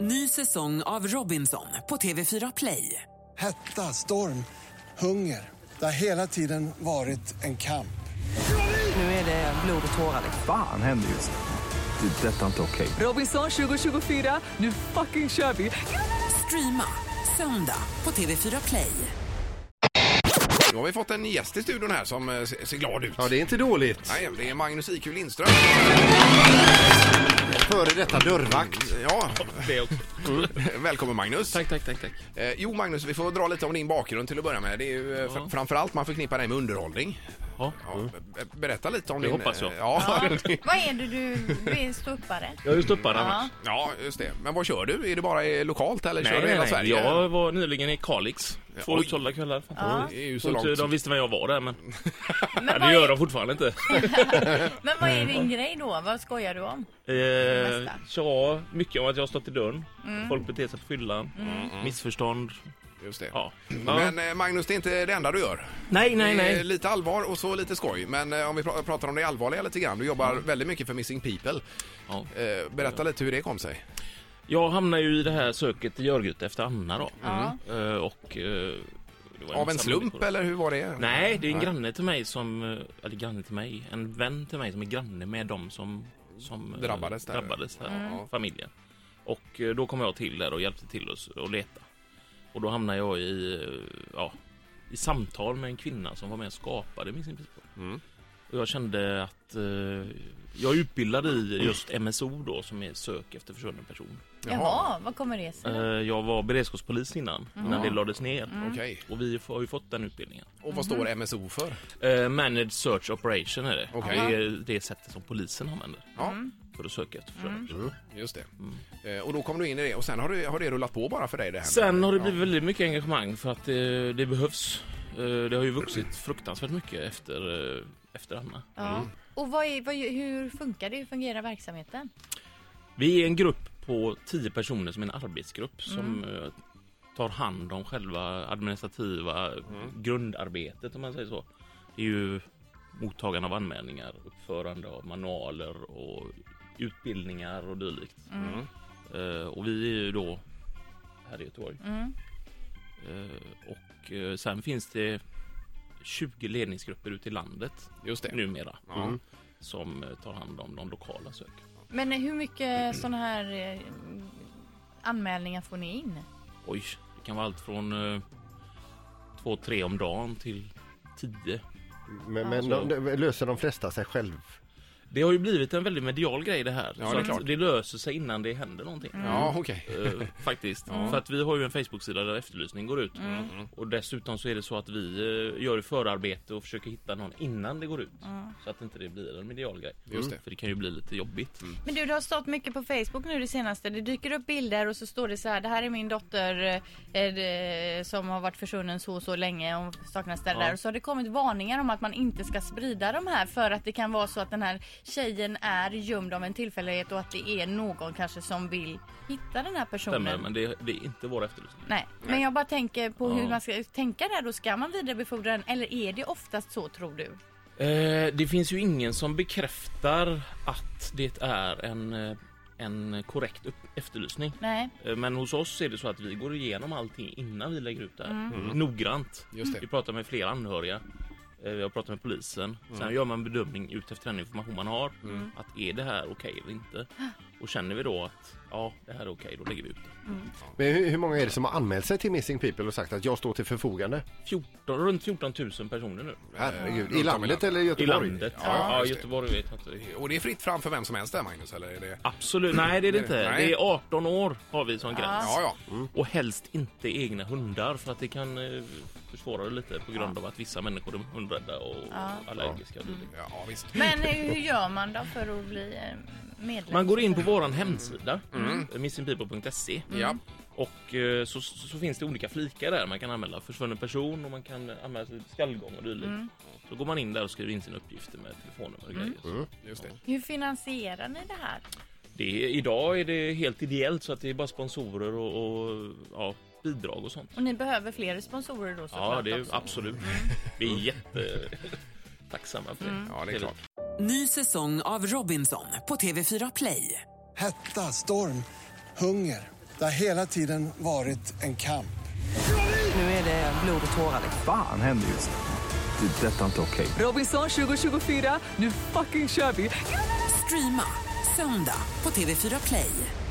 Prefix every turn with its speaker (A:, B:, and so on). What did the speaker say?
A: Ny säsong av Robinson på TV4 Play.
B: Hetta, storm, hunger. Det har hela tiden varit en kamp.
A: Nu är det blod och tårar. liksom.
C: Fan händer just nu. Det. är Detta är inte okej.
A: Robinson 2024, nu fucking kör vi! Streama söndag på TV4 Play.
D: Nu har vi fått en gäst i studion här som eh, ser ser glad ut.
E: Ja, det är inte dåligt.
D: Nej, det är Magnus IQ Lindström.
E: Före detta dörrvakt.
D: Ja, välkommen Magnus.
F: Tack, tack, tack, tack.
D: Eh, jo Magnus, vi får dra lite om din bakgrund till att börja med. Det är ju eh, fr- framförallt man förknippar dig med underhållning.
F: Ja.
D: Ja, be- Berätta lite om
F: Det
D: din...
F: hoppas jag.
D: eh, Ja,
G: Vad är det du, du är ståuppare?
F: Jag är ju ståuppare
G: Ja.
F: annars.
D: ja, just det. Men vad kör du? Är det bara eh, lokalt eller kör
F: Nej,
D: du hela
F: nej, nej.
D: Sverige?
F: Jag var nyligen i Kalix. Två
D: Oj.
F: utsålda kvällar.
D: Det är ju så
F: Så eh,
D: långt.
F: de visste vem jag var där, men,
G: Men,
F: det
G: vad
F: gör
G: är,
F: de fortfarande inte.
G: men vad är din grej då? Vad skojar du om?
F: Eh, ja, mycket om att jag har stått i dörren.
D: Mm.
F: Folk beter sig på fyllan. Missförstånd.
D: Just det.
F: Ja.
D: Mm. Men eh, Magnus, det är inte det enda du gör.
F: Nej, nej,
D: Det är
F: nej.
D: lite allvar och så lite skoj. Men eh, om vi pra- pratar om det allvarliga lite grann. Du jobbar väldigt mycket för Missing People.
F: Ja.
D: Eh, berätta lite hur det kom sig.
F: Jag hamnade ju i det här söket i Örgryte efter Anna då. Eh, och, eh, det var
D: Av en
F: massa
D: slump
F: människor.
D: eller hur var det?
F: Nej, det är en granne till mig som, eh, eller granne till mig, en vän till mig som är granne med dem som, som eh,
D: Drabbades där.
F: drabbades där
D: Mm.
F: familjen. Och eh, då kom jag till där och hjälpte till att s- att leta. Och då hamnade jag i, eh, ja, i samtal med en kvinna som var med och skapade Missing People.
D: Mm.
F: Och jag kände att eh, jag är utbildad i just MSO då som är sök efter försvunnen person.
G: Jaha, vad kommer det sig?
F: Eh,
D: Mm.
F: jag var beredskapspolis innan, när det lades ner.
D: Okej.
F: Och vi har ju fått den utbildningen.
D: Och vad
F: Mm.
D: står MSO för?
F: Eh, managed Search Operation är det.
D: Okej.
F: Det är det sättet som polisen använder
D: Ja,
F: för att söka efter försvunnen
D: Mm.
F: personer.
D: just det.
F: Mm.
D: Eh, och då kom du in i det och sen har, du, har det rullat på bara för dig det här?
F: Sen har det
D: Ja.
F: blivit väldigt mycket engagemang för att det, det behövs. Eh, Det har ju vuxit fruktansvärt mycket efter, eh, efter Anna.
G: Ja. Och vad är, vad, hur funkar det? Hur fungerar verksamheten?
F: Vi är en grupp på 10 personer som är en arbetsgrupp som
D: Mm.
F: eh, tar hand om själva administrativa
D: Mm.
F: grundarbetet om man säger så. Det är ju mottagande av anmälningar, uppförande av manualer och utbildningar och dylikt.
D: Mm.
F: Eh, och vi är ju då här i Göteborg.
G: Mm.
F: Eh, och eh, sen finns det 20 ledningsgrupper ute i landet
D: Just det. Mm.
F: numera
D: Ja.
F: som eh, tar hand om de lokala sök.
G: Men hur mycket sådana här eh, anmälningar får ni in?
F: Oj, det kan vara allt från eh, två, tre om dagen till tio.
E: Men, men de, de, löser de flesta sig själv?
F: Det har ju blivit en väldigt medial grej det här.
D: Ja,
F: så
D: det är
F: att
D: klart.
F: det löser sig innan det händer någonting.
D: Ja, okej.
F: Eh, faktiskt. För att vi har ju en Facebook-sida där efterlysning går ut.
D: Mm.
F: Mm. Och dessutom så är det så att vi eh, gör förarbete och försöker hitta någon innan det går ut. Så att inte det blir en medial grej.
D: Mm.
F: Mm.
D: Just det. Mm.
F: För det kan ju bli lite jobbigt.
G: Men du, det har stått mycket på Facebook nu det senaste. Det dyker upp bilder och så står det så här. Det här är min dotter eh, eh, det- som har varit försvunnen så och så länge. Hon saknas där, och
F: Ja.
G: där. Och så har det kommit varningar om att man inte ska sprida de här. För att det kan vara så att den här tjejen är gömd av en tillfällighet. Och att det är någon kanske som vill hitta den här personen.
F: Stämmer, men det, det är inte vår efterlysning.
G: Nej, men jag bara tänker på hur
F: Ja.
G: man ska tänka där då. Ska man vidarebefordra den eller är det oftast så tror du?
F: Eh, det finns ju ingen som bekräftar att det är en, eh, en korrekt upp- efterlysning.
G: Nej.
F: Eh, Men hos oss är det så att vi går igenom allting innan vi lägger ut det här. Noggrant.
D: Mm. Just det.
F: Vi pratar med flera anhöriga. Eh, Jag pratar med polisen.
D: Mm.
F: Sen gör man en bedömning utefter den information man har. Att är det här okej eller inte? Och känner vi då att ja, det här är okej, då lägger vi ut det.
E: Men hur, hur många är det som har anmält sig till Missing People och sagt att jag står till förfogande?
F: 14, runt 14 000 personer nu.
D: runt
E: Herregud,
D: om
E: i
D: i
E: landet
D: landet.
E: eller
F: I
E: Göteborg?
F: landet.
D: Ja,
F: Ja,
D: just det.
F: Göteborg vet jag inte. riktigt.
D: Och det är fritt fram för vem som helst där Magnus, eller är det?
F: Absolut, nej det är det inte.
D: Nej.
F: Det är 18 år har vi som gräns.
D: Ja, ja.
F: Och helst inte egna hundar för att det kan eh, försvåra det lite på grund av att vissa människor är hundrädda och allergiska. och dylikt.
D: Ja, Mm. visst.
G: Men eh, hur gör man då för att bli eh, medlem?
F: Man går in på våran hemsida, missingpeople.se
D: Mm. Ja.
F: och eh, så, så finns det olika flikar där. Man kan anmäla försvunnen person och man kan anmäla sig till skallgång och dylikt. Så går man in där och skriver in sina uppgifter med telefonnummer och grejer.
D: Just det.
G: Hur finansierar ni det här?
F: Det är, idag är det helt ideellt så att det är bara sponsorer och, och ja, bidrag och sånt.
G: Och ni behöver fler sponsorer då såklart
F: Ja, det är
G: också.
F: absolut. Vi är jätte tacksamma för det.
D: Mm. Ja, det är klart.
A: Ny säsong av Robinson på TV4 Play.
B: Hetta, storm, hunger. Det har hela tiden varit en kamp.
A: Nu är det blod och tårar. liksom.
C: Fan händer just nu. Det. är Detta är inte okej.
A: Robinson 2024, nu fucking kör vi! Streama söndag på TV4 Play.